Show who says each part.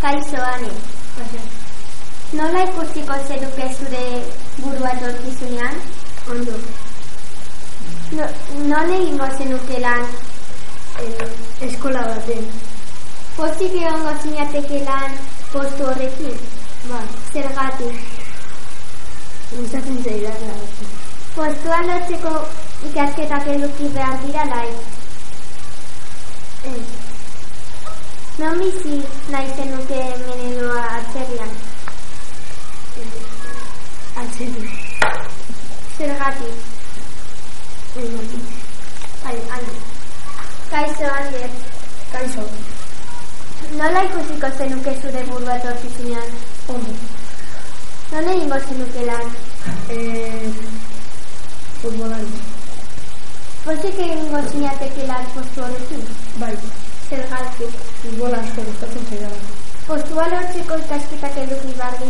Speaker 1: Kaixo, ani.
Speaker 2: Oso,
Speaker 1: Nola ikusiko zenuke zure burua torkizunean?
Speaker 2: ondo,
Speaker 1: No, non egingo zenuke lan?
Speaker 2: eh, eskola baten,
Speaker 1: Pozik egongo zinateke lan postu horrekin?
Speaker 2: ba,
Speaker 1: Zergatik.
Speaker 2: gustatzen zaidan lagatzen.
Speaker 1: Postua lotzeko ikasketak eduki behar dira bai? lai.
Speaker 2: Ez,
Speaker 1: Non bizi nahi zenuke hemen edo atzerrian?
Speaker 2: atzen,
Speaker 1: Zergatik.
Speaker 2: ematik,
Speaker 1: Bai, ani. Kaixo, Ander.
Speaker 2: kaixo,
Speaker 1: Nola ikusiko zenuke zure burua torkizunean?
Speaker 2: ondo,
Speaker 1: Non egingo zenuke lan?
Speaker 2: eh, futbolan,
Speaker 1: Pozik egingo zinateke lan postu horrekin?
Speaker 2: bai,
Speaker 1: Zergatik.
Speaker 2: futbola asko gustatzen zaidan.
Speaker 1: Postua lortzeko ikasketak eduki behar eh? dira e
Speaker 2: Eh,